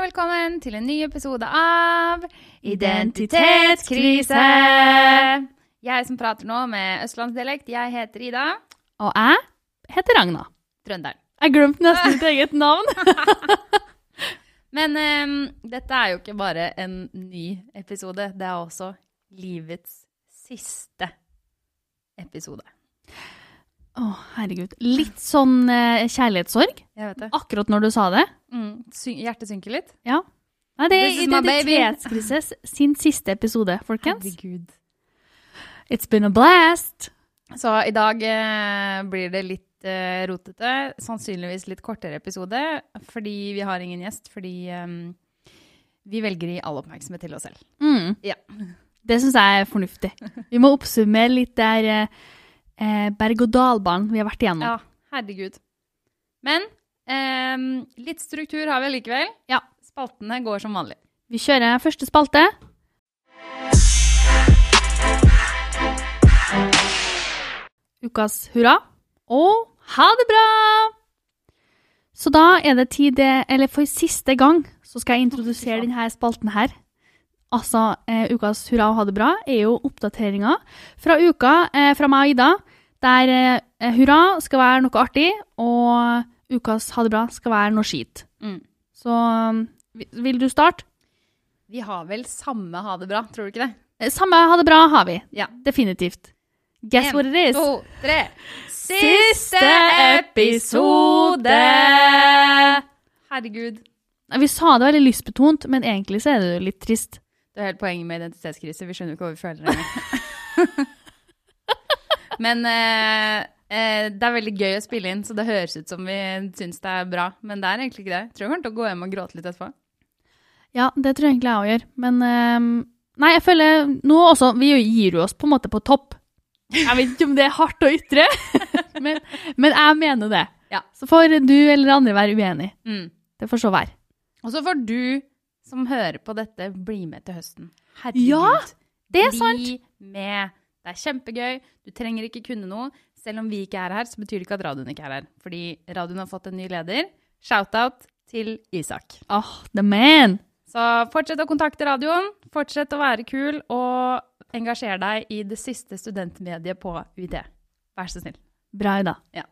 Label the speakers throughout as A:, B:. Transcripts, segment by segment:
A: velkommen til en ny episode av Identitetskrise. Jeg som prater nå med østlandsdialekt, jeg heter Ida
B: Og jeg heter Ragna.
A: Trønderen.
B: Jeg glemte nesten mitt eget navn.
A: Men ehm, dette er jo ikke bare en ny episode, det er også livets siste episode.
B: Å, herregud. Litt sånn eh, kjærlighetssorg,
A: Jeg vet det.
B: akkurat når du sa det.
A: Mm, syn- hjertet synker litt.
B: Ja. Nei, det
A: This
B: er
A: is my baby.
B: Identitetskrises sin siste episode, folkens.
A: Herregud.
B: It's been a blast!
A: Så i dag eh, blir det litt eh, rotete. Sannsynligvis litt kortere episode, fordi vi har ingen gjest. Fordi ehm, vi velger å gi all oppmerksomhet til oss selv.
B: Mm.
A: Ja.
B: Det syns jeg er fornuftig. Vi må oppsummere litt der eh, eh, berg-og-dal-banen vi har vært igjennom.
A: Ja, herregud. Men ehm, litt struktur har vi allikevel.
B: Ja.
A: Spaltene går som vanlig.
B: Vi kjører første spalte. Ukas hurra og ha det bra! Så da er det tid, eller for siste gang, så skal jeg introdusere
A: faen.
B: denne spalten her. Altså, eh, ukas hurra og ha det bra er jo oppdateringer fra uka eh, fra meg og Ida, der eh, hurra skal være noe artig, og ukas ha det bra skal være noe skit. Så um, vi- vil du starte?
A: Vi har vel samme ha det bra, tror du ikke det?
B: Eh, Samme ha det bra har vi.
A: Ja.
B: Definitivt. Guess
A: En,
B: what it is?
A: To, tre. Herregud.
B: Nei, Vi sa det veldig lystbetont, men egentlig så er det jo litt trist.
A: Det er hele poenget med identitetskrise. Vi skjønner jo ikke hva vi føler lenger. Men eh, eh, det er veldig gøy å spille inn, så det høres ut som vi syns det er bra. Men det er egentlig ikke det. Jeg tror jeg kommer til å gå hjem og gråte litt etterpå.
B: Ja, det tror jeg egentlig jeg òg gjør, men ehm, Nei, jeg føler nå også Vi gir jo oss på en måte på topp. Jeg vet ikke om det er hardt å ytre, men, men jeg mener det.
A: Ja.
B: Så får du eller andre være uenig.
A: Mm.
B: Det får så være.
A: Og så får du som hører på dette, bli med til høsten.
B: Ja, Det er
A: bli
B: sant.
A: med. Det er kjempegøy. Du trenger ikke kunne noe. Selv om vi ikke er her, så betyr det ikke at radioen ikke er her. Fordi radioen har fått en ny leder. Shout-out til Isak.
B: Åh, the man.
A: Så fortsett å kontakte radioen. Fortsett å være kul, og engasjer deg i det siste studentmediet på UiT. Vær så snill.
B: Bra, Ida.
A: Ja.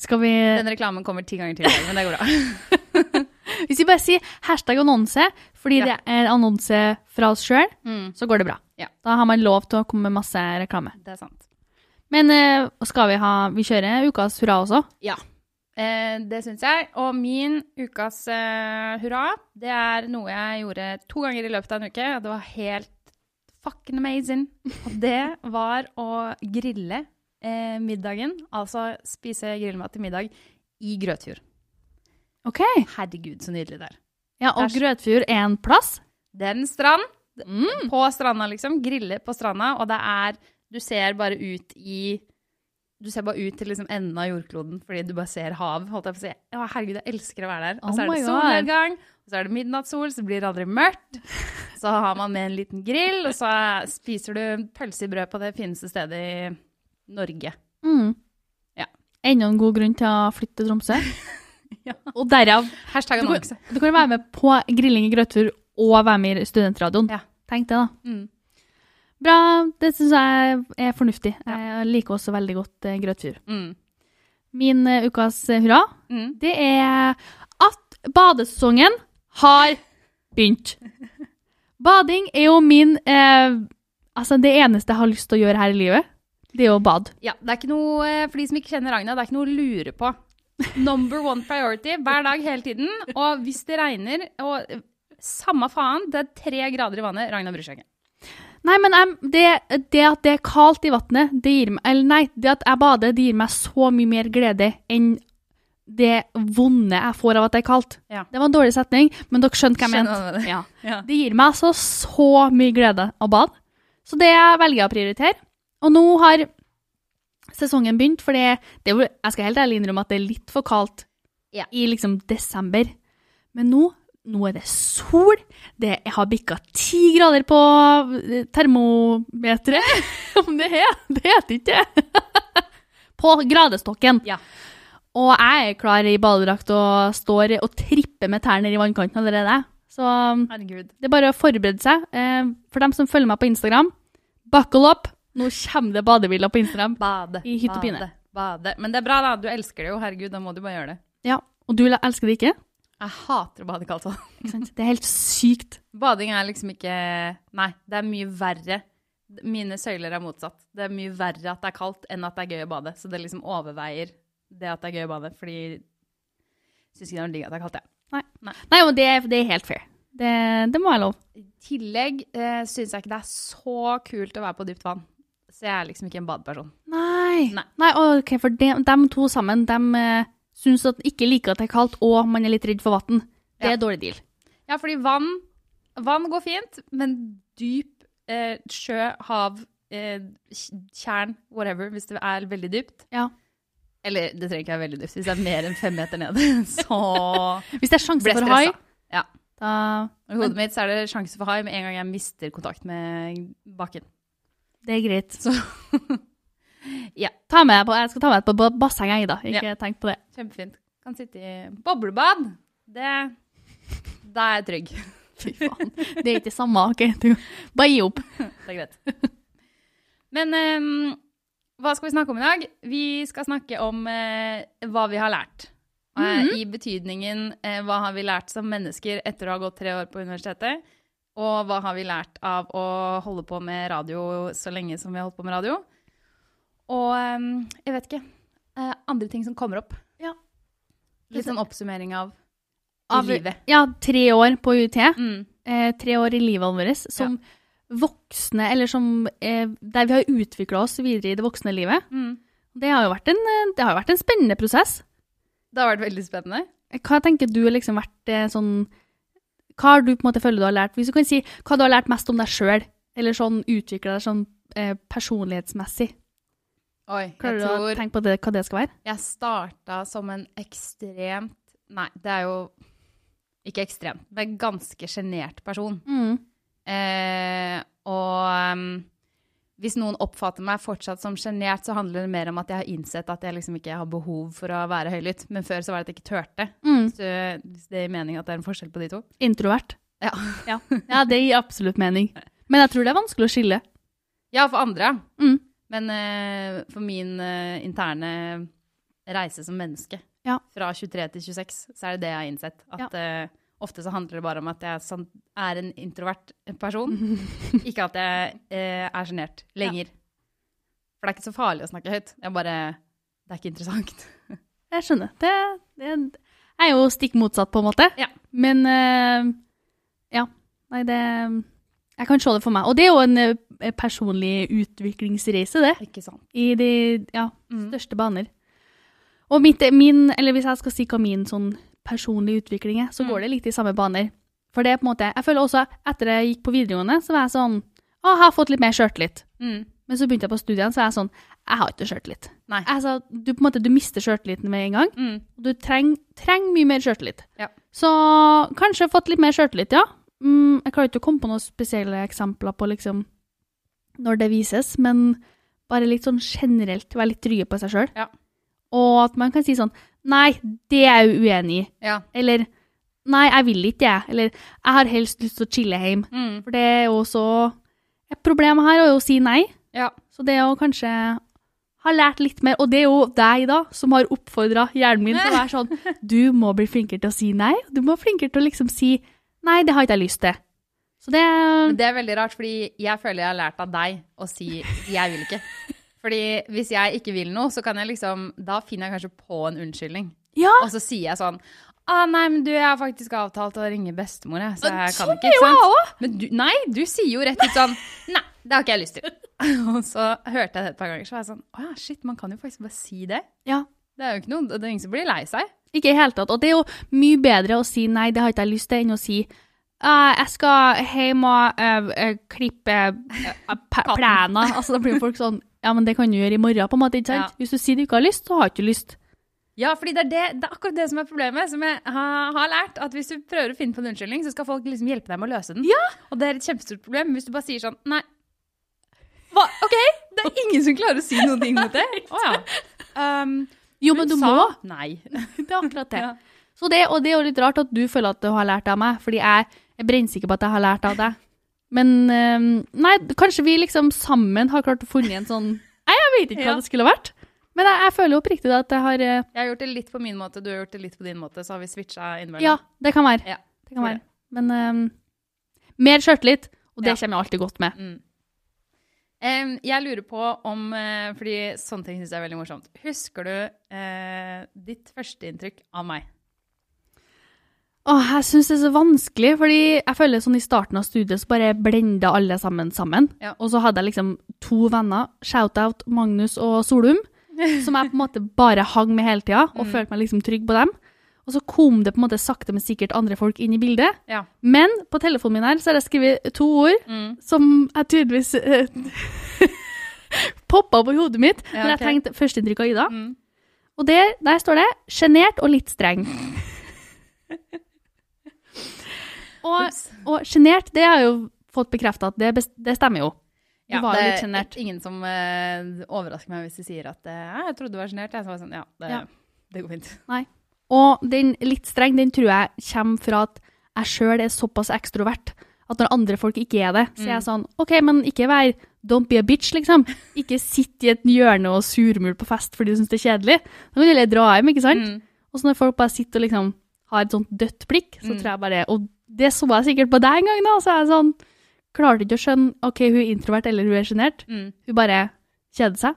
B: Skal vi
A: Den reklamen kommer ti ganger til, i dag, men det går bra.
B: Hvis vi bare sier hashtag annonse, fordi
A: Ja.
B: det er annonse fra oss sjøl,
A: Mm,
B: så går det bra.
A: Ja.
B: Da har man lov til å komme med masse reklame.
A: det er sant.
B: Men eh, skal vi ha Vi kjører ukas hurra også.
A: Eh, det syns jeg. Og min ukas eh, hurra, det er noe jeg gjorde to ganger i løpet av en uke. Og det var helt fucking amazing. Og det var å grille eh, middagen, altså spise grillmat til middag, i Grøtfjord.
B: OK.
A: Herregud, så nydelig det er.
B: Ja, og
A: Æsj.
B: Grøtfjord er en plass.
A: Det er en strand.
B: Mm.
A: på stranda, liksom. Grille på stranda, og det er Du ser bare ut i Du ser bare ut til liksom enden av jordkloden fordi du bare ser hav. Holdt jeg på å si. Å, herregud, jeg elsker å være der. Og så
B: Oh
A: er det
B: my God.
A: solnedgang, og så er det midnattssol, så blir det aldri mørkt. Så har man med en liten grill, og så spiser du pølse i brød på det fineste stedet i Norge.
B: Mm.
A: Ja.
B: Enda en god grunn til å flytte til Tromsø.
A: Ja.
B: Og derav
A: Hashtag
B: Du kan-
A: annonse.
B: Du kan være med på grilling i Grøtfjord og være med i Studentradioen.
A: Ja.
B: Tenk det, da.
A: Mm.
B: Bra. Det syns jeg er fornuftig.
A: Ja.
B: Jeg liker også veldig godt eh, Grøtfjord.
A: Mm.
B: Min eh, ukas eh, hurra
A: Mm.
B: det er at badesesongen har begynt. Bading er jo min eh, Altså, det eneste jeg har lyst til å gjøre her i livet, det er å bade.
A: Ja, det er ikke noe, eh, For de som ikke kjenner Ragna, det er ikke noe å lure på. Number one priority hver dag hele tiden. Og hvis det regner og eh, Samme faen, det er tre grader i vannet. Ragna bryr seg ikke.
B: Nei, men jeg, det, det at det er kaldt i vannet, det gir meg Eller nei, det at jeg bader, det gir meg så mye mer glede enn det vonde jeg får av at det er kaldt.
A: Ja.
B: Det var en dårlig setning, men dere skjønte hva jeg
A: Skjønner
B: mente.
A: hva du mener.
B: Ja.
A: Ja.
B: Det gir meg altså så mye glede å bade. Så det velger jeg å prioritere. Og nå har sesongen begynt, for det, det er jo, jeg skal helt ærlig innrømme at det er litt for kaldt
A: Ja.
B: i liksom desember. Men nå, nå er det sol. Det jeg har bikka ti grader på eh, termometeret. Om det er, det heter ikke det. På gradestokken.
A: Ja.
B: Og jeg er klar i badedrakt og står og tripper med tærne i vannkanten allerede. Så um,
A: Herregud.
B: det er bare å forberede seg. Eh, For dem som følger meg på Instagram, buckle up! Nå kommer det badebilder på Instagram.
A: Bade.
B: I hytt og pine.
A: Bade. Bade. Men det er bra, da. Du elsker det jo. Herregud, da må du bare gjøre det.
B: Ja, Og du elsker det ikke?
A: Jeg hater å bade i kaldt vann.
B: ikke sant? Det er helt sykt.
A: Bading er liksom ikke Nei, det er mye verre. Mine søyler er motsatt. Det er mye verre at det er kaldt enn at det er gøy å bade. Så det liksom overveier det at det er gøy å bade, fordi jeg syns ikke det er noe digg at det er kaldt, jeg.
B: Nei, men det, er- det er helt fair. Det, det må jeg lov.
A: I tillegg eh, syns jeg ikke det er så kult å være på dypt vann. Så jeg er liksom ikke en badeperson.
B: Nei.
A: Nei.
B: ok, For de, dem to sammen, dem eh, syns at ikke liker at det er kaldt, og man er litt redd for vann. Det
A: Ja.
B: er dårlig deal.
A: Ja, fordi vann, vann går fint, men dyp eh, sjø, hav, eh, tjern, whatever, hvis det er veldig dypt,
B: Ja.
A: Eller det trenger ikke være veldig dypt. Hvis det er mer enn fem meter ned, så
B: Hvis det er sjanse
A: blir jeg
B: for hai,
A: stressa. Ja.
B: da
A: I hodet mitt så er det sjanse for hai med en gang jeg mister kontakt med bakken.
B: det er greit.
A: Så
B: Ta med, på, jeg skal ta med deg på ba- bassenget, jeg, da. Ikke tenk på det.
A: kjempefint. Kan sitte i boblebad. Det Da er jeg trygg.
B: Fy faen. Det er ikke det samme. ok? Du, bare gi opp.
A: Det er greit. Men ehm, hva skal vi snakke om i dag? Vi skal snakke om eh, hva vi har lært. Eh, I betydningen eh, hva har vi lært som mennesker etter å ha gått tre år på universitetet? Og hva har vi lært av å holde på med radio så lenge som vi har holdt på med radio? Og ehm, jeg vet ikke. eh, andre ting som kommer opp.
B: Ja.
A: Litt sånn oppsummering av,
B: Av-
A: i livet.
B: Ja, tre år på UiT.
A: Mm.
B: Eh, tre år i livet vårt som voksne, eller som eh, Der vi har utvikla oss videre i det voksne livet.
A: Mm.
B: Det har jo vært en, eh, det har jo vært en spennende prosess. Eh,
A: Det har vært veldig spennende.
B: Hva tenker du har liksom vært eh, sånn Hva har du på en måte føler du har lært? Hvis du kan si hva du har lært mest om deg sjøl, eller sånn utvikla deg sånn eh, personlighetsmessig.
A: Oi, jeg
B: Klarer du
A: tror...
B: å tenke på det, hva det skal være?
A: Jeg starta som en ekstremt Nei, det er jo ikke ekstremt, men ganske sjenert person.
B: Mm,
A: Eh, og ehm, hvis noen oppfatter meg fortsatt som sjenert, så handler det mer om at jeg har innsett at jeg liksom ikke har behov for å være høylytt. Men før så var det at jeg ikke turte.
B: Mm.
A: Så hvis det gir mening at det er en forskjell på de to.
B: Introvert.
A: Ja,
B: Ja. ja, det gir absolutt mening. Men jeg tror det er vanskelig å skille.
A: ja for andre, ja.
B: Mm.
A: Men eh, for min eh, interne reise som menneske,
B: Ja.
A: fra 23 til 26, så er det det jeg har innsett. At eh, ofte så handler det bare om at jeg sånn, er en introvert person, ikke at jeg eh, er sjenert lenger. For det er ikke så farlig å snakke høyt. Jeg bare Det er ikke interessant.
B: Jeg skjønner. Det, det er jo stikk motsatt, på en måte.
A: Ja.
B: Men eh, Ja. Nei, det Jeg kan se det for meg. Og det er jo en eh, personlig utviklingsreise, det.
A: Ikke sant.
B: I de ja,
A: Mm.
B: største baner. Og mitt, min, eller hvis jeg skal si hva min sånn personlige utvikling er, så
A: Mm.
B: går det litt i samme baner. For det er på en måte Jeg føler også etter jeg gikk på videregående, så var jeg sånn Å, jeg har fått litt mer sjøltillit.
A: Mm.
B: Men så begynte jeg på studiene, så er jeg sånn Jeg har ikke sjøltillit.
A: Nei.
B: Jeg sa, Du på en måte, du mister sjøltilliten med en gang.
A: Mm.
B: Du trenger treng mye mer sjøltillit.
A: Ja.
B: Så kanskje fått litt mer sjøltillit, ja. Mm, jeg klarer ikke å komme på noen spesielle eksempler på liksom når det vises, men bare litt sånn generelt være litt trygge på seg sjøl.
A: Ja.
B: Og at man kan si sånn Nei, det er jeg uenig i.
A: Ja.
B: Eller Nei, jeg vil ikke, jeg. Eller Jeg har helst lyst til å chille hjemme.
A: Mm.
B: For det er jo også et problem her, er jo å si nei.
A: Ja.
B: Så det å kanskje ha lært litt mer, og det er jo deg da, som har oppfordra hjernen min til å være sånn Du må bli flinkere til å si nei. Du må bli flinkere til å liksom si Nei, det har ikke jeg lyst til. Så det
A: Men det er veldig rart, fordi jeg føler jeg har lært av deg å si 'jeg vil ikke'. Fordi hvis jeg ikke vil noe, så kan jeg liksom Da finner jeg kanskje på en unnskyldning.
B: Ja,
A: Og så sier jeg sånn Ah, nei, men du, jeg har faktisk avtalt å ringe bestemor, jeg, så jeg kan
B: sånn
A: ikke.
B: er jo
A: ikke sant?
B: jeg også.
A: Men du, nei, du sier jo rett ut sånn Nei, det har ikke jeg lyst til. Og så hørte jeg det et par ganger, så var jeg sånn Å ja, shit, man kan jo faktisk bare si det.
B: Ja.
A: Det er jo ikke noe, det er ingen som blir lei seg.
B: ikke i det hele tatt. Og det er jo mye bedre å si nei, det har ikke jeg lyst til, enn å si «Ah, jeg skal hjem og eh, eh, klippe eh, pe- plener. Altså, da blir jo folk sånn Ja, men det kan du gjøre i morgen, på en måte. ikke sant? Hvis du sier du ikke har lyst, så har du ikke lyst.
A: Ja, fordi det er, det, det er akkurat det som er problemet, som jeg har, har lært. At hvis du prøver å finne på en unnskyldning, så skal folk liksom hjelpe deg med å løse den. Og det er et kjempestort problem hvis du bare sier sånn Nei. Hva? OK? Det er ingen som klarer å si noen ting mot det. Å ja. Um,
B: Jo, men du
A: sa
B: må.
A: Nei.
B: Det er akkurat det.
A: Ja.
B: Så det, og det er jo litt rart at du føler at du har lært av meg, fordi jeg Jeg er brennsikker på at jeg har lært av deg. Men eh, nei, kanskje vi liksom sammen har klart å funne en sånn Nei, jeg vet ikke hva
A: Ja.
B: det skulle vært. Men jeg, jeg føler oppriktig da at jeg har eh,
A: Jeg har gjort det litt på min måte, du har gjort det litt på din måte, så har vi switcha innimellom.
B: Ja, det kan være.
A: Ja,
B: det kan
A: tror
B: være. Men eh, mer sjøltillit, og det
A: Ja.
B: kommer jeg alltid godt med.
A: Mm. Em, jeg lurer på om eh, Fordi sånne ting syns jeg er veldig morsomt. Husker du eh, ditt førsteinntrykk av meg?
B: Åh, jeg syns det er så vanskelig, fordi jeg føler sånn i starten av studiet så bare blenda alle sammen sammen.
A: Ja.
B: Og så hadde jeg liksom to venner, shout-out Magnus og Solum, som jeg på en måte bare hang med hele tida, og
A: Mm.
B: følte meg liksom trygg på dem. Og så kom det på en måte sakte, men sikkert andre folk inn i bildet.
A: Ja.
B: Men på telefonen min her så har jeg skrevet to ord
A: Mm.
B: som jeg tydeligvis eh, poppa opp i hodet mitt
A: Ja,
B: når jeg
A: ok.
B: tenkte førsteinntrykk av Ida.
A: Mm.
B: Og der, der står det 'sjenert og litt streng'. og
A: Ups.
B: og sjenert, det har jeg jo fått bekrefta at det, bes- det stemmer jo. Du
A: Ja,
B: var jo
A: det
B: litt sjenert.
A: er ingen som eh, overrasker meg hvis de sier at eh, «Ja, 'jeg trodde du var sjenert'. Jeg så var sånn, ja, det,
B: Ja.
A: det går fint.
B: Og den litt streng, den tror jeg kommer fra at jeg sjøl er såpass ekstrovert at når andre folk ikke er det, så er jeg sånn OK, men ikke vær Don't be a bitch, liksom. Ikke sitt i et hjørne og surmul på fest fordi du syns det er kjedelig. Da kan du heller dra hjem, ikke sant?
A: Mm.
B: Og så når folk bare sitter og liksom har et sånt dødt blikk, så
A: Mm.
B: tror jeg bare Og det så jeg sikkert på deg en gang, da. Så er jeg sånn Klarte ikke å skjønne OK, hun er introvert eller hun er sjenert.
A: Mm.
B: Hun bare kjeder seg.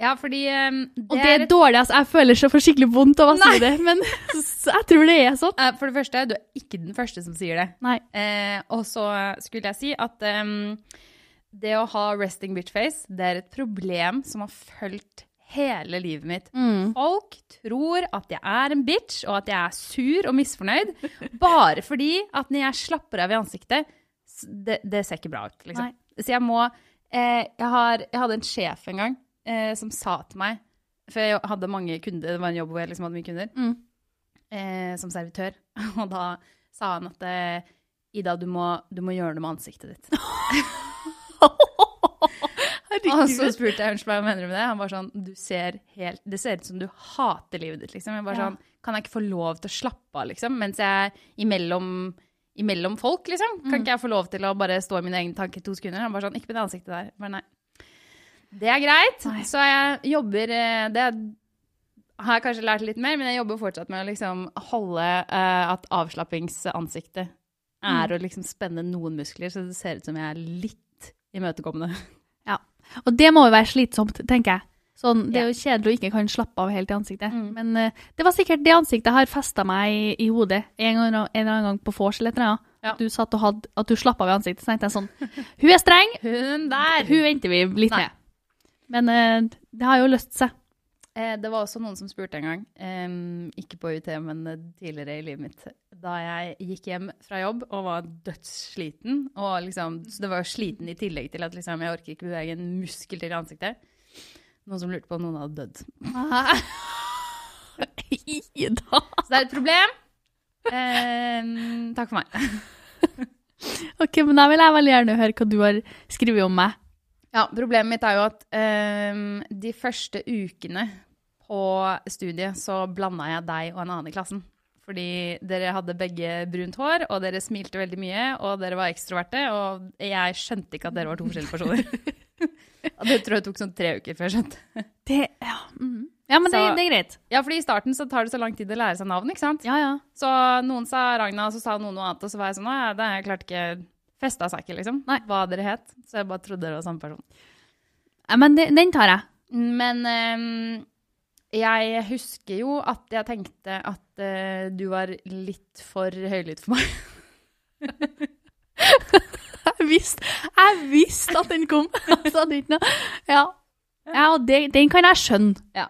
A: Ja, fordi em, det,
B: Og det er
A: et-
B: dårlig, altså. Jeg føler så for skikkelig vondt av å si det, men så jeg tror det er sånn.
A: Eh, For det første, du er ikke den første som sier det.
B: Nei.
A: Eh, og så skulle jeg si at em, det å ha resting bitch face, det er et problem som har fulgt hele livet mitt.
B: Mm.
A: Folk tror at jeg er en bitch, og at jeg er sur og misfornøyd, bare fordi at når jeg slapper av i ansiktet, s- det, det ser ikke bra ut, liksom.
B: Nei.
A: Så jeg må eh, jeg, har, jeg hadde en sjef en gang eh, som sa til meg For jeg hadde mange kunder, det var en jobb hvor jeg liksom hadde mye kunder
B: Mm.
A: eh, som servitør. Og da sa han at eh, Ida, du må, du må gjøre noe med ansiktet ditt. Og så
B: Herregud.
A: spurte jeg unnskyld meg, hva mener du med det? Han var sånn, du ser helt, det ser ut som du hater livet ditt, liksom. Jeg bare
B: Ja.
A: sånn, kan jeg ikke få lov til å slappe av, liksom, mens jeg er imellom, imellom folk, liksom? Kan
B: Mm.
A: ikke jeg få lov til å bare stå i mine egne tanker i to sekunder? Han bare sånn, ikke med det ansiktet der. Jeg Bare nei. Det er greit,
B: Nei.
A: så jeg jobber, eh, det har jeg kanskje lært litt mer, men jeg jobber fortsatt med å liksom holde eh, at avslappingsansiktet er
B: Mm.
A: å liksom spenne noen muskler, så det ser ut som jeg er litt imøtekommende.
B: Og det må jo være slitsomt, tenker jeg. Sånn, det er jo kjedelig å ikke kan slappe av helt i ansiktet.
A: Mm.
B: Men eh, det var sikkert det ansiktet har festa meg i, i hodet en, gang, en eller annen gang på vors eller et eller annet.
A: Ja.
B: At Du satt og hadde, at du slapp av i ansiktet. Så tenkte jeg sånn Hun er streng,
A: Hun der!
B: hun venter vi litt
A: Nei.
B: med. Men eh, det har jo løst seg.
A: Eh, det var også noen som spurte en gang, em, ikke på UiT, men eh, tidligere i livet mitt, da jeg gikk hjem fra jobb og var dødssliten, og liksom, så det var jo sliten i tillegg til at liksom, jeg orker ikke bevege en muskel til i ansiktet. Noen som lurte på om noen hadde dødd.
B: Ida!
A: Så det er et problem. Em, takk for meg.
B: Ok, men da vil jeg veldig gjerne høre hva du har skrevet om meg.
A: Ja, problemet mitt er jo at em, de første ukene på studiet så blanda jeg deg og en annen i klassen. Fordi dere hadde begge brunt hår, og dere smilte veldig mye, og dere var ekstroverte, og jeg skjønte ikke at dere var to forskjellige personer. Og det tror jeg tok sånn tre uker før jeg skjønte.
B: Det, ja, mm. ja men det,
A: Så-
B: det er greit.
A: Ja, fordi i starten så tar det så lang tid å lære seg navn, ikke sant?
B: Ja, ja.
A: Så noen sa Ragna, og så sa noen noe annet, og så var jeg sånn, «Å ja, det har jeg klart ikke festa seg ikke, liksom,
B: Nei.
A: hva dere het. Så jeg bare trodde dere var samme person.
B: Ja, Men det, den tar jeg.
A: Men ehm, jeg husker jo at jeg tenkte at eh, du var litt for høylytt for meg.
B: Jeg visste, jeg visste at den kom. Altså, det er ikke noe. Ja, ja og det, den kan jeg skjønne.
A: Ja.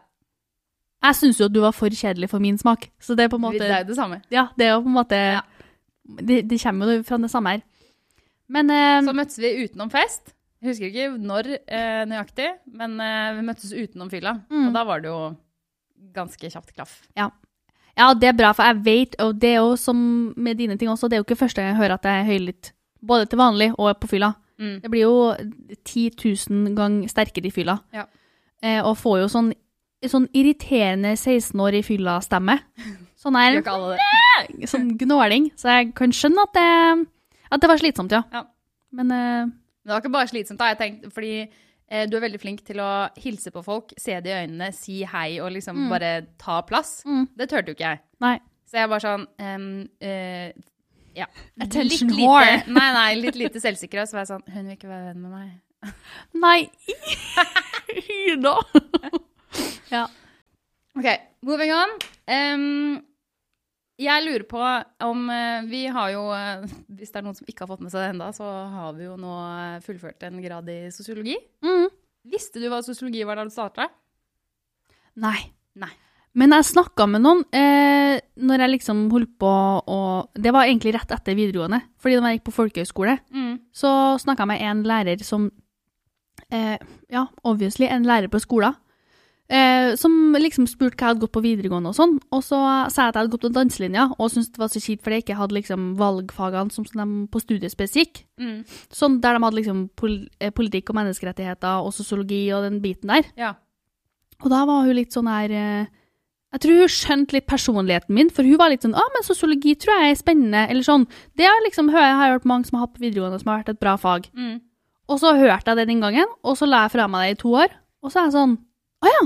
B: Jeg syns jo at du var for kjedelig for min smak, så det er på en
A: Det
B: måte
A: er jo det samme.
B: Ja, det er jo på en måte det, det kommer jo fra det samme her. Men eh,
A: Så møttes vi utenom fest. Jeg husker ikke når eh, nøyaktig, men eh, vi møttes utenom fylla.
B: Mm.
A: Og da var det jo ganske kjapt klaff.
B: Ja, det er bra, for jeg vet, og det er jo som med dine ting også, det er jo ikke første gang jeg hører at jeg er høylytt. Både til vanlig og på fylla.
A: Mm.
B: Det blir jo 10 000 gang sterkere i fylla.
A: Ja.
B: Eh, og får jo sånn, sånn irriterende 16 år i fylla-stemme. Sånn er
A: Gjør
B: den.
A: ikke alle det?
B: eh, sånn gnåling. Så jeg kan skjønne at det, at det var slitsomt, ja.
A: Ja.
B: Men eh,
A: Men det var ikke bare slitsomt, da. Jeg tenkte, fordi eh, du er veldig flink til å hilse på folk, se det i øynene, si hei og liksom
B: Mm.
A: bare ta plass.
B: Mm.
A: Det turte jo ikke jeg.
B: nei.
A: Så jeg bare sånn ehm, eh, ja.
B: Attention
A: litt
B: whore.
A: lite, nei, nei, litt lite selvsikker. Og så var jeg sånn Hun vil ikke være venn med meg.
B: Nei, Ida! ja.
A: OK, moving on. Ehm, jeg lurer på om eh, Vi har jo eh, Hvis det er noen som ikke har fått med seg det ennå, så har vi jo nå eh, fullført en grad i sosiologi.
B: Mm.
A: Visste du hva sosiologi var da du starta?
B: Nei.
A: Nei.
B: Men jeg snakka med noen eh, når jeg liksom holdt på å Det var egentlig rett etter videregående, fordi da jeg gikk på folkehøyskole,
A: Mm.
B: så snakka jeg med en lærer som eh, Ja, obviously en lærer på skolen. Eh, som liksom spurte hva jeg hadde gått på videregående og sånn. Og så sa jeg at jeg hadde gått på danselinja, og syntes det var så kjipt fordi jeg ikke hadde liksom valgfagene som de på studiespes gikk.
A: Mm.
B: Sånn der de hadde liksom pol eh, politikk og menneskerettigheter og sosiologi og den biten der.
A: Ja.
B: Og da var hun litt sånn her eh, Jeg tror hun skjønte litt personligheten min, for hun var litt sånn 'Å, men sosiologi tror jeg er spennende', eller sånn. Det har liksom, hø- jeg har hørt mange som har hatt på videregående som har vært et bra fag.
A: Mm.
B: Og så hørte jeg det den gangen, og så la jeg fra meg det i to år. Og så er jeg sånn 'Å ja,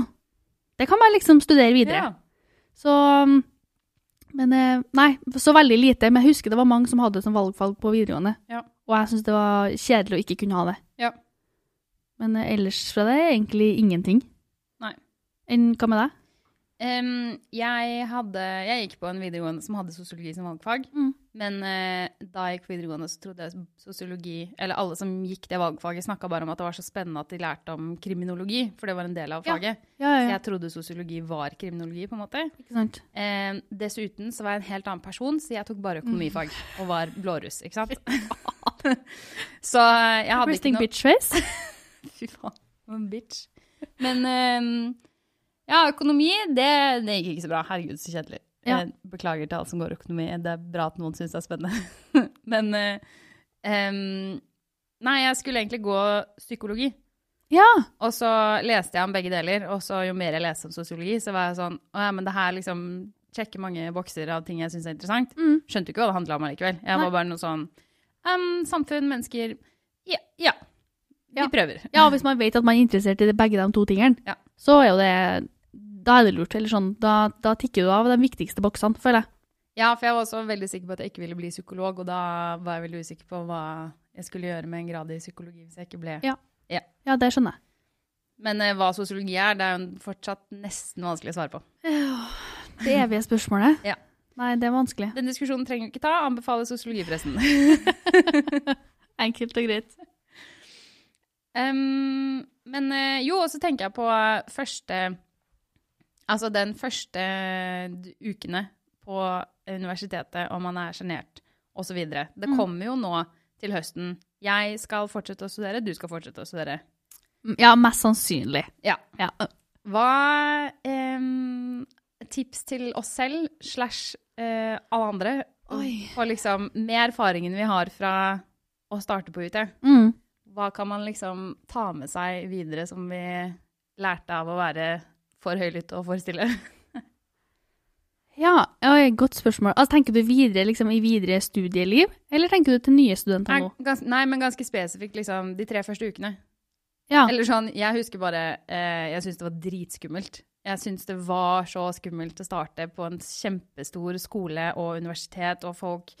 B: det kan man liksom studere videre'.
A: Ja.
B: Så um, Men eh, nei, så veldig lite. Men jeg husker det var mange som hadde det som valgfag på videregående.
A: Ja.
B: Og jeg syns det var kjedelig å ikke kunne ha det.
A: Ja.
B: Men eh, ellers fra det er egentlig ingenting.
A: Nei.
B: Enn hva med deg?
A: Em, jeg, hadde, jeg gikk på en videregående som hadde sosiologi som valgfag.
B: Mm.
A: Men eh, da jeg gikk på videregående, så trodde jeg sosiologi Eller alle som gikk det valgfaget, snakka bare om at det var så spennende at de lærte om kriminologi, for det var en del av
B: Ja.
A: faget.
B: Ja,
A: Så jeg trodde sosiologi var kriminologi, på en måte.
B: Ikke sant?
A: Em, dessuten så var jeg en helt annen person, så jeg tok bare
B: Mm.
A: økonomifag og var blåruss, ikke sant? så eh, jeg hadde ikke
B: Resting
A: noe
B: bitch face.
A: Fy faen, for en bitch. Men ehm, ja, økonomi, det, det gikk ikke så bra. Herregud, så kjedelig.
B: Ja.
A: Jeg beklager til alle som går økonomi. Det er bra at noen syns det er spennende. Men eh, ehm, Nei, jeg skulle egentlig gå psykologi.
B: Ja.
A: Og så leste jeg om begge deler, og så jo mer jeg leste om sosiologi, så var jeg sånn Å ja, men det her liksom sjekker mange bokser av ting jeg syns er interessant.
B: Mm.
A: Skjønte jo ikke hva det handla om allikevel. Jeg
B: Nei.
A: var bare noe sånn «Em, Samfunn, mennesker Ja. ja. Vi
B: Ja.
A: prøver.
B: ja, og hvis man vet at man er interessert i det- begge de to tingene,
A: Ja.
B: så er jo det Da er det lurt. Eller sånn, da, da tikker du av de viktigste boksene, føler jeg.
A: Ja, for jeg var også veldig sikker på at jeg ikke ville bli psykolog, og da var jeg veldig usikker på hva jeg skulle gjøre med en grad i psykologi hvis jeg ikke ble.
B: Ja. Ja, det skjønner jeg.
A: Men eh, hva sosiologi er, det er jo fortsatt nesten vanskelig å svare på.
B: Det evige spørsmålet.
A: Ja.
B: Nei, det er vanskelig.
A: Den diskusjonen trenger vi ikke ta, anbefaler sosiologi forresten.
B: Enkelt og greit.
A: Em, men eh, jo, og så tenker jeg på eh, første Altså den første d- ukene på universitetet, om man er sjenert, osv. Det
B: Mm.
A: kommer jo nå til høsten. Jeg skal fortsette å studere, du skal fortsette å studere.
B: Mm, Ja, mest sannsynlig.
A: Ja.
B: Ja,
A: Hva em, tips til oss selv slash eh, alle andre
B: Oi.
A: og liksom med erfaringen vi har fra å starte på UT?
B: mm.
A: Hva kan man liksom ta med seg videre som vi lærte av å være for høylytt og for stille?
B: ja oi, godt spørsmål. Altså, tenker du videre liksom, i videre studieliv, eller tenker du til nye studenter
A: Nei,
B: nå?
A: gans, nei, men ganske spesifikt liksom de tre første ukene.
B: Ja.
A: Eller sånn, jeg husker bare eh, Jeg syns det var dritskummelt. Jeg syns det var så skummelt å starte på en kjempestor skole og universitet, og folk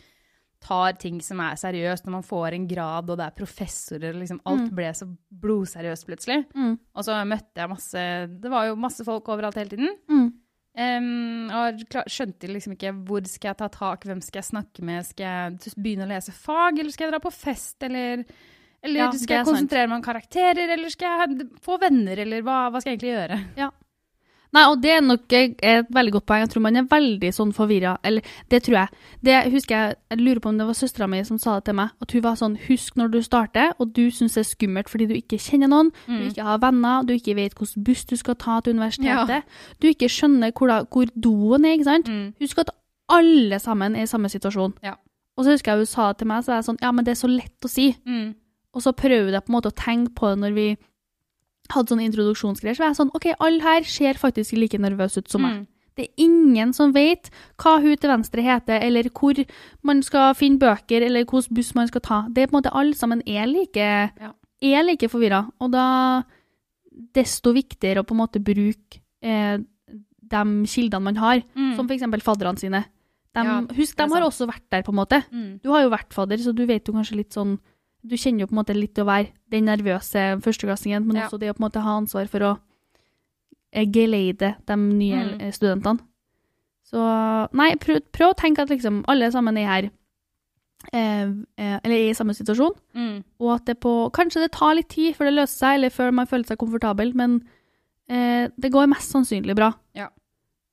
A: tar ting som er seriøst når man får en grad, og det er professorer, og liksom alt
B: Mm.
A: ble så blodseriøst plutselig.
B: Mm.
A: Og så møtte jeg masse Det var jo masse folk overalt hele tiden.
B: Mm.
A: Em, og klar, skjønte liksom ikke hvor skal jeg ta tak, hvem skal jeg snakke med, skal jeg begynne å lese fag, eller skal jeg dra på fest, eller, eller
B: Ja, det
A: skal
B: er
A: jeg konsentrere meg om karakterer, eller skal jeg få venner, eller hva, hva skal jeg egentlig gjøre?
B: Nei, og det er nok eh, et veldig godt poeng. Jeg tror man er veldig sånn forvirra. Eller det tror jeg. Det husker jeg, jeg lurer på om det var søstera mi som sa det til meg. At hun var sånn Husk når du starter, og du syns det er skummelt fordi du ikke kjenner noen, du
A: Mm.
B: ikke har venner, du ikke vet hvilken buss du skal ta til universitetet, du ikke skjønner hvor, da- hvor doen er, ikke sant?
A: Mm.
B: Husk at alle sammen er i samme situasjon.
A: Ja.
B: Og så husker jeg hun sa det til meg, så er jeg sånn Ja, men det er så lett å si.
A: Mm.
B: Og så prøvde jeg på en måte å tenke på det når vi hadde sånn introduksjonsgreier. Så var jeg sånn OK, alle her ser faktisk like nervøse ut som meg.
A: Mm.
B: Det er ingen som vet hva hun til venstre heter, eller hvor man skal finne bøker, eller hvilken buss man skal ta. Det er på en måte alle sammen er like,
A: Ja.
B: er like forvirra. Og da desto viktigere å på en måte bruke eh, de kildene man har,
A: Mm.
B: som f.eks. fadderne sine. De,
A: Ja,
B: husk,
A: det er
B: de har
A: sant.
B: også vært der, på en måte.
A: Mm.
B: Du har jo vært fadder, så du vet jo kanskje litt sånn Du kjenner jo på en måte litt til å være den nervøse førsteklassingen, men
A: Ja.
B: også det å på en måte ha ansvar for å eh, geleide de nye
A: Mm.
B: eh, studentene. Så nei, prøv, prøv å tenke at liksom alle sammen er her, eh, eh, eller er i samme situasjon,
A: Mm.
B: og at det på Kanskje det tar litt tid før det løser seg, eller før man føler seg komfortabel, men eh, det går mest sannsynlig bra.
A: Ja.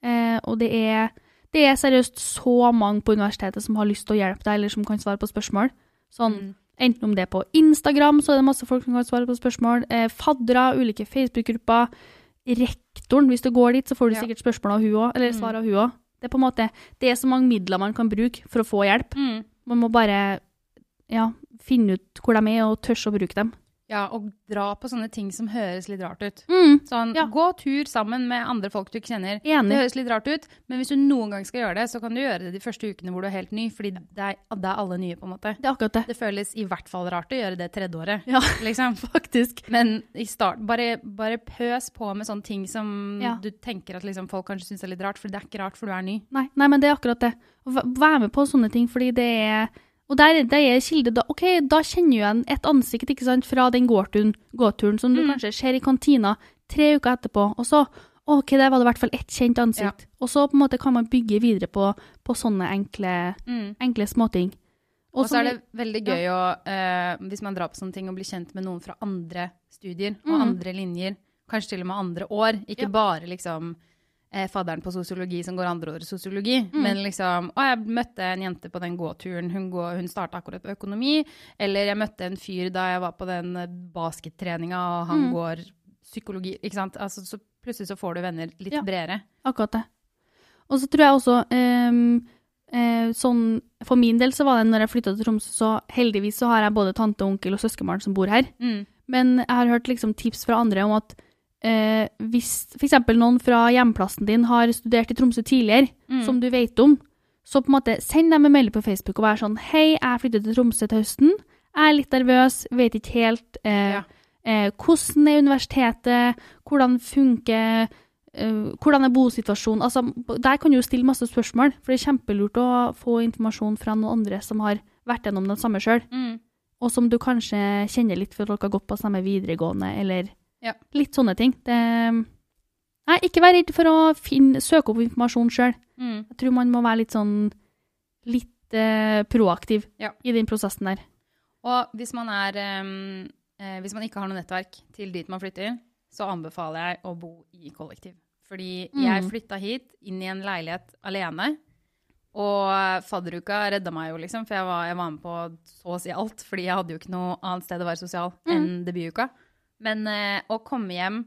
B: Eh, og det er, det er seriøst så mange på universitetet som har lyst til å hjelpe deg, eller som kan svare på spørsmål. Sånn,
A: Mm.
B: Enten om det er på Instagram, så er det masse folk som kan svare på spørsmål. Eh, faddere, ulike Facebook-grupper. Rektoren, hvis du går dit, så får du
A: Ja.
B: sikkert spørsmål av hun òg, eller
A: Mm.
B: svar av hun òg. Det er på en måte, det er så mange midler man kan bruke for å få hjelp.
A: Mm.
B: Man må bare ja, finne ut hvor de er, og tørre å bruke dem.
A: Ja, og dra på sånne ting som høres litt rart ut.
B: Mm,
A: Sånn,
B: Ja.
A: gå tur sammen med andre folk du ikke kjenner. Det
B: enig.
A: høres litt rart ut, men hvis du noen gang skal gjøre det, så kan du gjøre det de første ukene hvor du er helt ny, fordi det er, det er alle nye, på en måte.
B: Det er akkurat det.
A: Det føles i hvert fall rart å gjøre det tredje året,
B: Ja.
A: liksom.
B: Faktisk.
A: Men i start, bare, bare pøs på med sånne ting som
B: Ja.
A: du tenker at liksom, folk kanskje syns er litt rart, for det er ikke rart, for du er ny.
B: Nei, nei, men det er akkurat det. Å væ- Vær med på sånne ting, fordi det er Og der, der er kilde da, OK, da kjenner du igjen et ansikt ikke sant, fra den gåturen, gåturen som du
A: Mm.
B: kanskje ser i kantina tre uker etterpå, og så OK, der var det i hvert fall ett kjent ansikt. Og så på en måte kan man bygge videre på, på sånne enkle, enkle småting.
A: Og så
B: som
A: er det
B: vi-
A: veldig gøy å, eh, hvis man drar på sånne ting, å bli kjent med noen fra andre studier og
B: Mm.
A: andre linjer. Kanskje til og med andre år. Ikke
B: Ja.
A: bare liksom eh, fadderen på sosiologi som går andre året sosiologi,
B: Mhm.
A: men liksom Å, jeg møtte en jente på den gåturen. Hun, går, hun starta akkurat på økonomi. Eller jeg møtte en fyr da jeg var på den eh, baskettreninga, og
B: Mhm.
A: han går psykologi. Ikke sant. Altså, så plutselig så får du venner litt
B: Ja.
A: bredere.
B: Akkurat det. Og så tror jeg også ehm, eh, sånn, For min del så var det når jeg flytta til Tromsø, så heldigvis så har jeg både tante, onkel og søskenbarn som bor her.
A: Mm.
B: Men jeg har hørt liksom, tips fra andre om at eh, hvis f.eks. noen fra hjemplassen din har studert i Tromsø tidligere,
A: Mm.
B: som du vet om, så på en måte send dem en melding på Facebook og vær sånn Hei, jeg flytter til Tromsø til høsten. Jeg er litt nervøs, vet ikke helt eh,
A: Ja.
B: eh, hvordan er universitetet, hvordan funker eh, hvordan er bosituasjonen? Altså, der kan du jo stille masse spørsmål, for det er kjempelurt å få informasjon fra noen andre som har vært gjennom det samme sjøl
A: Mm.
B: og som du kanskje kjenner litt for at dere har gått på samme videregående, eller
A: Ja.
B: litt sånne ting. Det, nei, ikke vær redd for å finne, søke opp informasjon sjøl.
A: Mm.
B: Jeg tror man må være litt sånn litt eh, proaktiv
A: Ja.
B: i den prosessen der.
A: Og hvis man, er, ehm, eh, hvis man ikke har noe nettverk til dit man flytter, så anbefaler jeg å bo i kollektiv. Fordi jeg
B: Mm.
A: flytta hit, inn i en leilighet alene. Og fadderuka redda meg jo, liksom, for jeg var, jeg var med på så å si alt. Fordi jeg hadde jo ikke noe annet sted å være sosial enn debutuka. Men eh, å komme hjem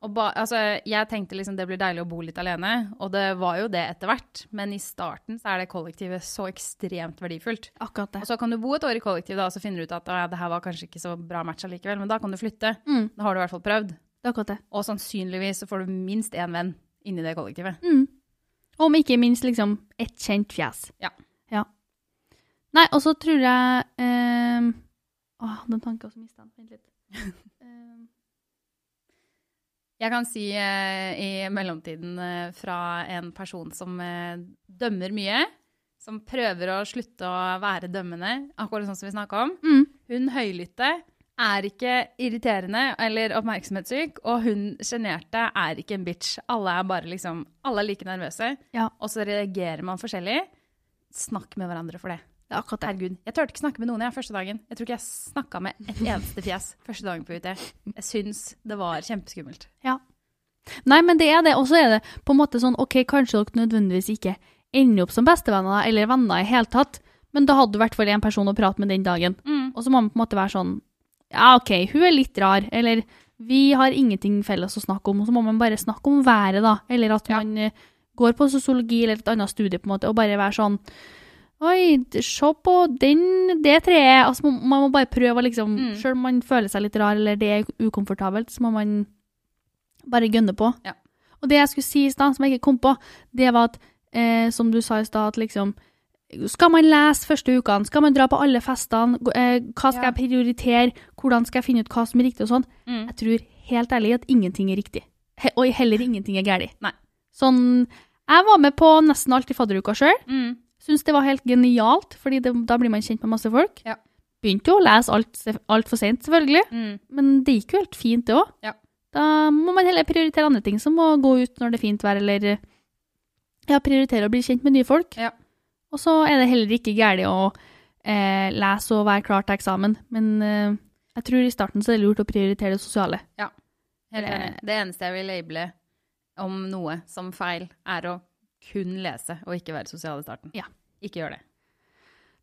A: og ba, altså, Jeg tenkte liksom det blir deilig å bo litt alene, og det var jo det etter hvert. Men i starten så er det kollektivet så ekstremt verdifullt.
B: Akkurat
A: Og så kan du bo et år i kollektiv, da, og så finner du ut at «Å, ja, det her var kanskje ikke så bra match allikevel, men da kan du flytte.
B: Mm,
A: Da har du i hvert fall prøvd.
B: det er akkurat det.
A: Og sannsynligvis så får du minst én venn inni det kollektivet.
B: Mm. Om ikke minst liksom et kjent fjes.
A: Ja.
B: ja. Nei, og så tror jeg eh, Åh, den tanken også mista den. Vent litt. Eh,
A: Jeg kan si eh, i mellomtiden eh, fra en person som eh, dømmer mye, som prøver å slutte å være dømmende, akkurat sånn som vi snakka om.
B: mm.
A: Hun høylytte er ikke irriterende eller oppmerksomhetssyk, og hun sjenerte er ikke en bitch. Alle er bare liksom, alle er like nervøse,
B: Ja.
A: og så reagerer man forskjellig. Snakk med hverandre for det.
B: Det er akkurat det.
A: Herregud, jeg turte ikke snakke med noen jeg første dagen. Jeg tror ikke jeg snakka med et eneste fjes første dagen på UT. Jeg syns det var kjempeskummelt.
B: Nei, men det er det. Og så er det på en måte sånn, ok, kanskje dere nødvendigvis ikke ender opp som bestevenner eller venner i hele tatt, men da hadde du i hvert fall en person å prate med den dagen.
A: Mm.
B: Og så må man på en måte være sånn, ja, ok, hun er litt rar, eller vi har ingenting felles å snakke om, og så må man bare snakke om været da, eller at
A: Ja.
B: man eh, går på sosiologi eller et annet studie på en måte, og bare være sånn, Oi, d- se på den, det treet. Altså, man, man må bare prøve, å liksom.
A: Mm.
B: Selv om man føler seg litt rar, eller det er ukomfortabelt, så må man bare gønne på.
A: Ja.
B: Og det jeg skulle si i stad, som jeg ikke kom på, det var at, eh, som du sa i stad, at liksom Skal man lese første ukene? Skal man dra på alle festene? Gå- Eh, hva
A: Ja.
B: skal jeg prioritere? Hvordan skal jeg finne ut hva som er riktig og sånn?
A: Mm.
B: Jeg tror helt ærlig at ingenting er riktig. He og heller ingenting er galt.
A: Nei.
B: Sånn Jeg var med på nesten alt i fadderuka sjøl.
A: Mm.
B: Syns det var helt genialt, fordi det, da blir man kjent med masse folk.
A: Ja.
B: Begynte jo å lese altfor alt for sent, selvfølgelig,
A: Mm.
B: men det gikk jo helt fint, det òg.
A: Ja.
B: Da må man heller prioritere andre ting, som å gå ut når det er fint vær, eller eh, ja, prioritere å bli kjent med nye folk.
A: Ja.
B: Og så er det heller ikke galt å eh, lese og være klar til eksamen, men eh, jeg tror i starten så er det lurt å prioritere det sosiale.
A: Helt enig. Det eneste jeg vil labele om noe som feil, er å kun lese og ikke være sosial i starten.
B: Ja.
A: Ikke gjør det.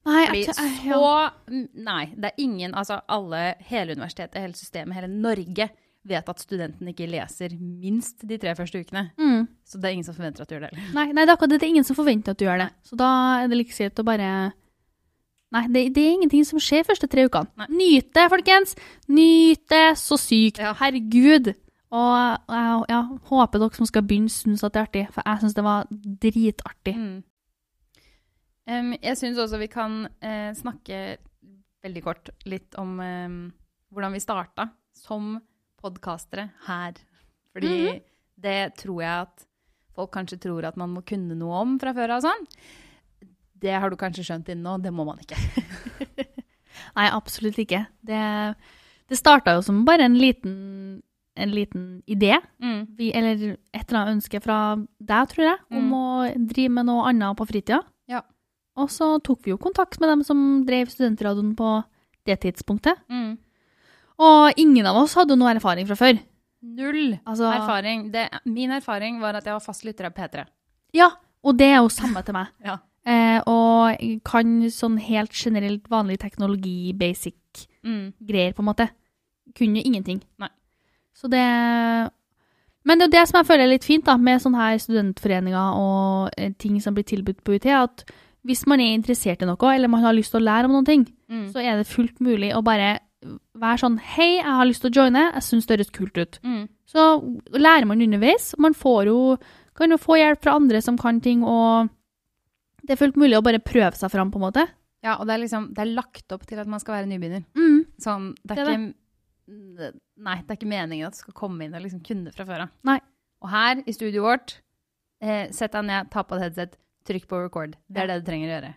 B: Nei,
A: Fordi
B: jeg, jeg,
A: så mm, Nei, det er ingen Altså, alle, hele universitetet, hele systemet, hele Norge vet at studenten ikke leser minst de tre første ukene.
B: mm.
A: Så det er ingen som forventer at du gjør det. heller.
B: Nei, nei, det er akkurat det. Det er ingen som forventer at du gjør det. Så da er det like greit å bare Nei, det, det er ingenting som skjer de første tre ukene.
A: Nei.
B: Nyt det, folkens! Nyt det så sykt!
A: Ja.
B: Herregud! Og jeg ja, håper dere som skal begynne, syns at det er artig, for jeg syns det var dritartig.
A: Mm. Em, jeg syns også vi kan eh, snakke veldig kort litt om em, hvordan vi starta som podkastere her. Fordi det tror jeg at folk kanskje tror at man må kunne noe om fra før av og sånn. Det har du kanskje skjønt innen nå, det må man ikke.
B: Nei, absolutt ikke. Det, det starta jo som bare en liten, en liten idé, vi, eller et eller annet ønske fra deg, tror jeg, om
A: Mm.
B: å drive med noe annet på fritida.
A: Ja.
B: Og så tok vi jo kontakt med dem som drev studentradioen på det tidspunktet.
A: Mm.
B: Og ingen av oss hadde jo noe erfaring fra før.
A: Null
B: Altså,
A: erfaring. Det, min erfaring var at jeg var fast lytter av P3.
B: Ja, og det er jo samme til meg.
A: Ja.
B: Eh, og jeg kan sånn helt generelt vanlig teknologi, basic
A: Mm.
B: greier, på en måte. Kunne jo ingenting.
A: Nei.
B: Så det Men det er jo det som jeg føler er litt fint da, med sånne her studentforeninger og eh, ting som blir tilbudt på UiT, at hvis man er interessert i noe, eller man har lyst til å lære om noen ting,
A: Mm.
B: så er det fullt mulig å bare være sånn Hei, jeg har lyst til å joine. Jeg syns det høres kult ut.
A: Mm.
B: Så lærer man underveis. og Man får jo, kan jo få hjelp fra andre som kan ting, og det er fullt mulig å bare prøve seg fram, på en måte.
A: ja, og det er liksom Det er lagt opp til at man skal være nybegynner.
B: Mm.
A: Sånn, det er,
B: Det er
A: ikke Nei, det er ikke meningen at du skal komme inn og liksom kunne det fra før av.
B: Nei.
A: Og her, i studioet vårt, eh, sett deg ned, ta på et headset, trykk på record. Det er det du trenger å gjøre.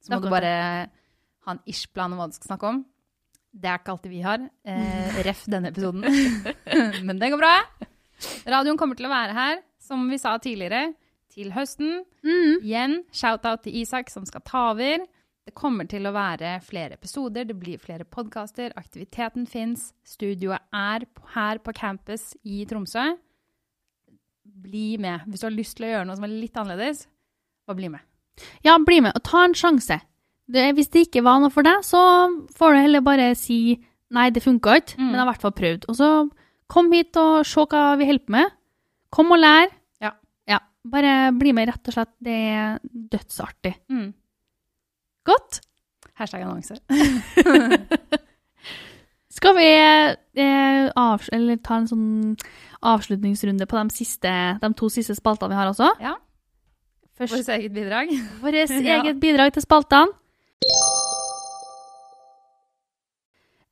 A: Så
B: Det er
A: må du
B: akkurat
A: bare ha en ish-plan om hva du skal snakke om. Det er ikke alltid vi har. Eh, ref denne episoden. Men det går bra. Radioen kommer til å være her, som vi sa tidligere, til høsten.
B: Mm.
A: Igjen, shout-out til Isak som skal ta over. Det kommer til å være flere episoder, det blir flere podkaster, aktiviteten fins, studioet er p- her på campus i Tromsø. Bli med. Hvis du har lyst til å gjøre noe som er litt annerledes, bare bli med.
B: Ja, bli med og ta en sjanse. Det, hvis det ikke var noe for deg, så får du heller bare si nei, det funka ikke,
A: Mm.
B: men jeg har i hvert fall prøvd. Og så kom hit og se hva vi holder på med. Kom og lær.
A: Ja.
B: Bare bli med, rett og slett. Det er dødsartig.
A: Mm.
B: Godt.
A: Hashtag annonse.
B: Skal vi eh, avs eller ta en sånn avslutningsrunde på de, siste, de to siste spaltene vi har også?
A: Ja.
B: Først
A: Vårt eget bidrag.
B: vårt
A: Ja.
B: eget bidrag til spaltene.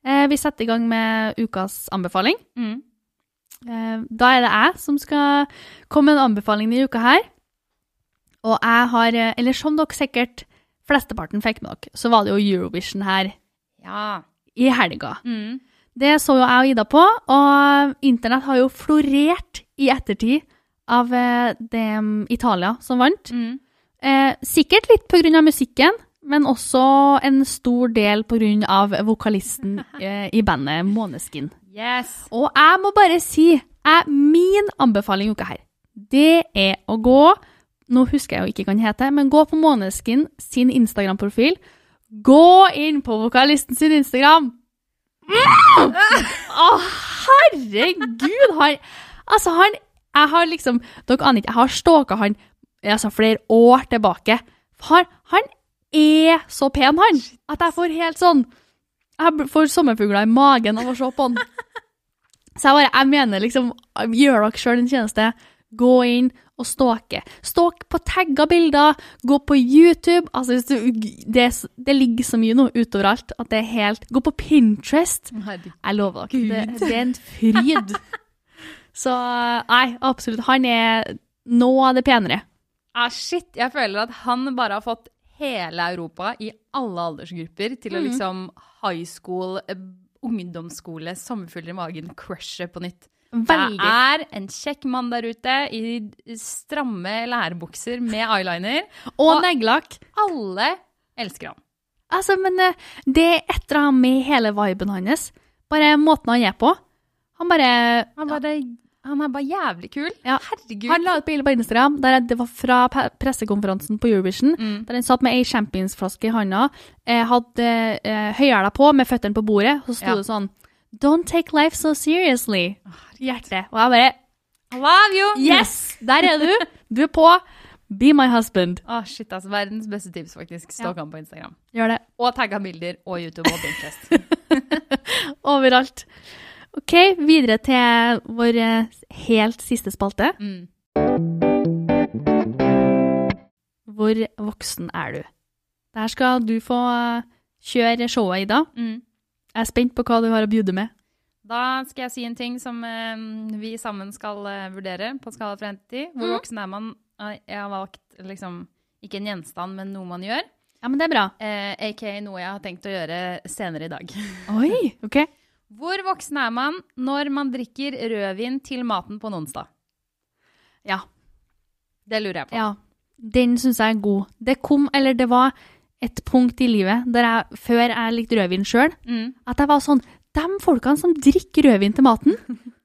B: Eh, vi setter i gang med ukas anbefaling.
A: Mm.
B: Eh, Da er det jeg som skal komme med en anbefaling denne uka her. Og jeg har, eh, eller som dere sikkert flesteparten fikk med dere, så var det jo Eurovision her
A: Ja.
B: i helga.
A: Mm.
B: Det så jo jeg og Ida på, og internett har jo florert i ettertid av eh, det mm, Italia som vant.
A: Mm.
B: Eh, sikkert litt pga. musikken, men også en stor del pga. vokalisten eh, i bandet Måneskin.
A: Yes.
B: Og jeg må bare si er min anbefaling i uka her. Det er å gå Nå husker jeg jo ikke hva han heter, men gå på Måneskin sin Instagram-profil. Gå inn på vokalisten sin Instagram! Mm! Å, herregud! Han Altså, han Jeg har liksom Dere aner ikke, jeg har stalka han altså, flere år tilbake. Han, han er så pen, han, at jeg får helt sånn Jeg bl- får sommerfugler i magen av å se på han. Så jeg bare, jeg mener liksom, gjør dere sjøl en tjeneste. Gå inn og stalke. Stalk på tagga bilder, gå på YouTube altså hvis du, det, er s- det ligger så mye nå utover alt at det er helt Gå på Pinterest. Jeg lover dere, det, det er en fryd. så nei, absolutt. Han er noe av det penere.
A: Ah, shit, jeg føler at han bare har fått hele Europa i alle aldersgrupper til å
B: Mm.
A: liksom high school, eh, ungdomsskole, sommerfugler i magen, crushe på nytt. Det
B: Veldig.
A: er en kjekk mann der ute i stramme lærbukser med eyeliner.
B: Og neglelakk.
A: Alle elsker han.
B: Altså, men eh, det er et eller annet med hele viben hans. Bare måten han er på. Han bare
A: Han, er bare jævlig kul.
B: Ja.
A: Herregud.
B: Han la ut bilde på Instagram der det var fra pe- pressekonferansen på Eurovision, der han satt med ei championsflaske i handa, eh, hadde eh, høyhæla på med føttene på bordet, og så sto
A: Ja.
B: det sånn Don't take life so seriously. Hjerte. Og jeg bare
A: Ah, I love you!
B: Yes! Der er du! Du er på! Be my husband.
A: Ah, shit, altså, verdens beste tips, faktisk. Stalk han på Instagram.
B: Gjør det.
A: Og tagga bilder og YouTube og Pinterest.
B: Overalt. OK, videre til vår eh, helt siste spalte.
A: Mm.
B: Hvor voksen er du? Der skal du få eh, kjøre showet, Ida.
A: Mm.
B: Jeg er spent på hva du har å bjude med.
A: Da skal jeg si en ting som eh, vi sammen skal eh, vurdere på skala fra 1 til 10. Hvor voksen er man? Eh, Jeg har valgt liksom ikke en gjenstand, men noe man gjør.
B: Ja, men det er bra.
A: Eh, aka noe jeg har tenkt å gjøre senere i dag.
B: Oi, ok.
A: Hvor voksen er man når man drikker rødvin til maten på en onsdag?
B: Ja.
A: Det lurer jeg på.
B: ja. Den syns jeg er god. Det kom, eller det var et punkt i livet der jeg, før jeg likte rødvin sjøl,
A: Mm.
B: at jeg var sånn De folkene som drikker rødvin til maten,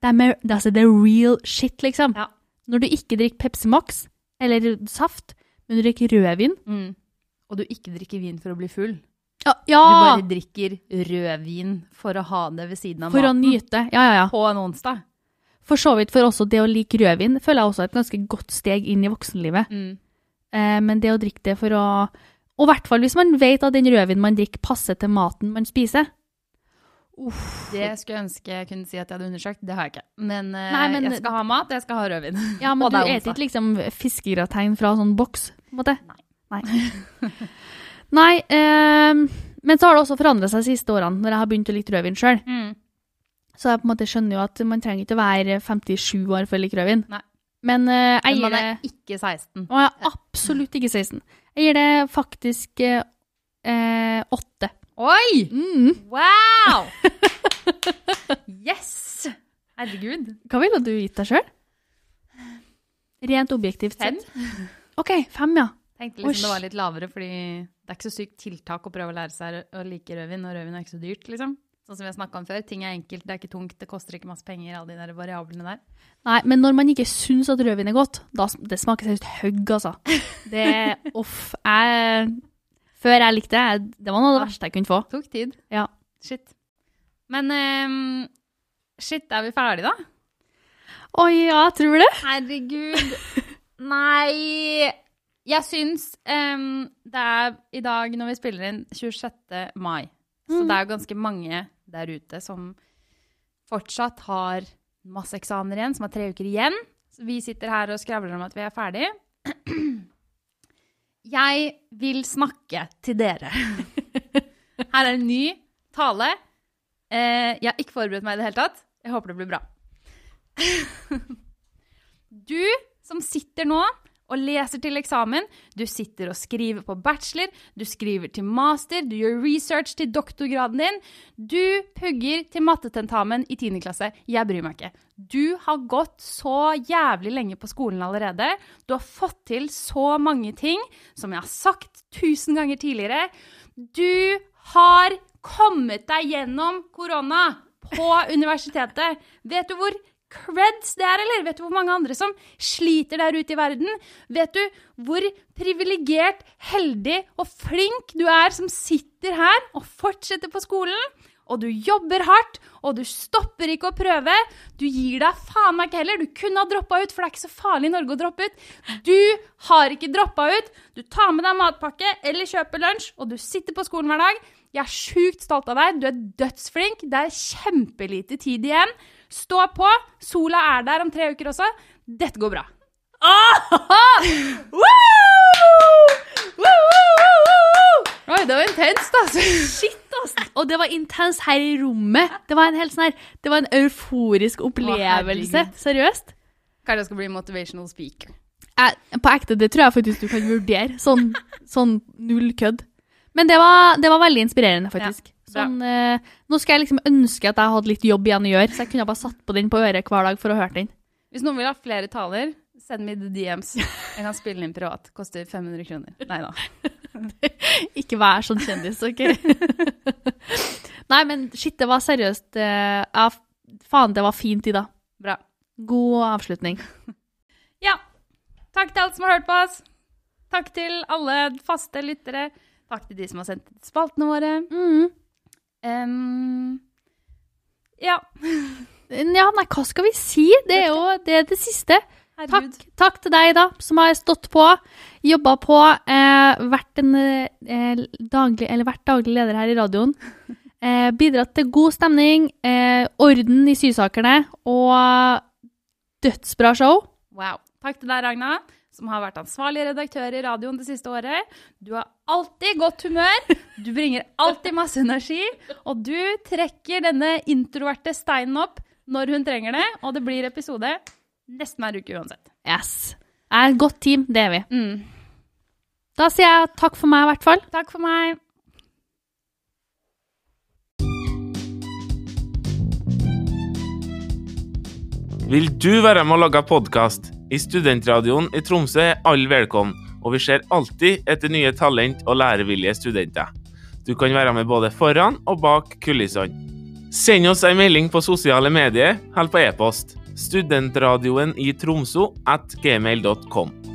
B: dem er, det er altså, det er real shit, liksom.
A: Ja.
B: Når du ikke drikker Pepsi Max eller saft, men du drikker rødvin
A: Mm. Og du ikke drikker vin for å bli full.
B: Ja!
A: Du bare drikker rødvin Ah! for å ha det ved siden av
B: for å
A: maten
B: nyte. Ja, ja, ja.
A: på en onsdag.
B: For så vidt for også det å like rødvin føler jeg også er et ganske godt steg inn i voksenlivet.
A: Mm.
B: Eh, men det å drikke det for å Og i hvert fall hvis man vet at den rødvinen man drikker, passer til maten man spiser. Uff.
A: Det skulle jeg ønske jeg kunne si at jeg hadde undersøkt. Det har jeg ikke. Men, eh,
B: Nei, men-
A: jeg skal ha mat, jeg skal ha rødvin.
B: Ja, men
A: Og
B: du
A: det er
B: spiser
A: onsdag.
B: ikke liksom fiskegrateng fra sånn boks, på en måte?
A: Nei.
B: Nei. Nei ehm, men så har det også forandra seg de siste årene, når jeg har begynt å like rødvin sjøl.
A: Mm.
B: Så jeg på en måte skjønner jo at man trenger ikke å være 57 år for å like rødvin.
A: Nei.
B: Men eh, jeg
A: Men
B: gir
A: man
B: det
A: er ikke 16.
B: Og jeg er absolutt ikke 16. Jeg gir det faktisk eh, eh, åtte.
A: Oi!
B: Mm.
A: Wow! Yes! Herregud.
B: Hva ville du gitt deg sjøl? Rent objektivt
A: Fem.
B: sett. OK, fem, ja.
A: Tenkte
B: Oi,
A: liksom det var
B: sh-
A: litt lavere, fordi det er ikke så sykt tiltak å prøve å lære seg å like rødvin, og rødvin er ikke så dyrt, liksom. Sånn som vi har snakka om før. Ting er enkelt, det er ikke tungt, det koster ikke masse penger, alle de der variablene der.
B: Nei, men når man ikke syns at rødvin er godt, da sm- det smaker seriøst høgg, altså. Det er off. Jeg, før jeg likte det, det var noe av det verste jeg kunne få.
A: Tok tid.
B: Ja.
A: Shit. Men ehm, shit, er vi ferdige, da?
B: Oi, ja, tror du det?
A: Herregud. Nei. Jeg syns ehm, det er i dag, når vi spiller inn, 26. mai. Så det er jo ganske mange der ute som fortsatt har masse eksamener igjen, som har tre uker igjen. Så vi sitter her og skravler om at vi er ferdig. Jeg vil snakke til dere. Her er en ny tale. Eh, jeg har ikke forberedt meg i det hele tatt. Jeg håper det blir bra. Du som sitter nå og leser til eksamen, du sitter og skriver på bachelor, du skriver til master, du gjør research til doktorgraden din, du pugger til mattetentamen i 10. klasse. Jeg bryr meg ikke. Du har gått så jævlig lenge på skolen allerede. Du har fått til så mange ting, som jeg har sagt tusen ganger tidligere. Du har kommet deg gjennom korona på universitetet. Vet du hvor creds det er, eller? Vet du hvor mange andre som sliter der ute i verden? Vet du hvor privilegert, heldig og flink du er som sitter her og fortsetter på skolen? Og du jobber hardt, og du stopper ikke å prøve. Du gir deg faen meg ikke heller. Du kunne ha droppa ut, for det er ikke så farlig i Norge å droppe ut. Du har ikke droppa ut. Du tar med deg matpakke eller kjøper lunsj, og du sitter på skolen hver dag. Jeg er sjukt stolt av deg. Du er dødsflink. Det er kjempelite tid igjen. Stå på. Sola er der om tre uker også. Dette går bra. Oi, det var intenst, altså.
B: Shit, altså! Og det var intens her i rommet. Det var en helt sånn her, det var en euforisk opplevelse.
A: herregud.
B: Seriøst.
A: Kanskje jeg skal bli motivational speaker.
B: Jeg, på ekte, det tror jeg faktisk du kan vurdere. Sånn, sånn null kødd. Men det var, det var veldig inspirerende, faktisk.
A: bra.
B: sånn, eh, nå skal jeg liksom ønske at jeg hadde litt jobb igjen å gjøre, så jeg kunne bare satt på den på øret hver dag for å høre den.
A: Hvis noen vil ha flere taler, send meg the DMs. Jeg kan spille inn privat. Koster 500 kroner. Nei da.
B: Ikke vær sånn kjendis, OK? Nei, men shit, det var seriøst. eh, ja, faen, det var fint, Ida.
A: Bra.
B: God avslutning.
A: Ja. Takk til alle som har hørt på oss. Takk til alle faste lyttere. Takk til de som har sendt spaltene våre.
B: Mm.
A: Em, ja.
B: Ja, nei, hva skal vi si? Det er jo det, er det siste. Takk,
A: Herregud.
B: takk til deg, da, som har stått på, jobba på, eh, vært, en, eh, daglig, eller vært daglig leder her i radioen. Eh, bidratt til god stemning, eh, orden i sysakerne og dødsbra show.
A: Wow. Takk til deg, Ragna, som har vært ansvarlig redaktør i radioen det siste året. Du har alltid godt humør, du bringer alltid masse energi, og du trekker denne introverte steinen opp når hun trenger det, og det blir episode nesten hver uke uansett.
B: Yes. Er et godt team, det er vi.
A: Mm.
B: Da sier jeg takk for meg, i hvert fall.
A: Takk for meg.
C: Vil du være med å lage podkast? I Studentradioen i Tromsø er alle velkommen, og vi ser alltid etter nye talent og lærevillige studenter. Du kan være med både foran og bak kulissene. Send oss en melding på sosiale medier eller på e-post. Studentradioen i Tromsø at gmail.com.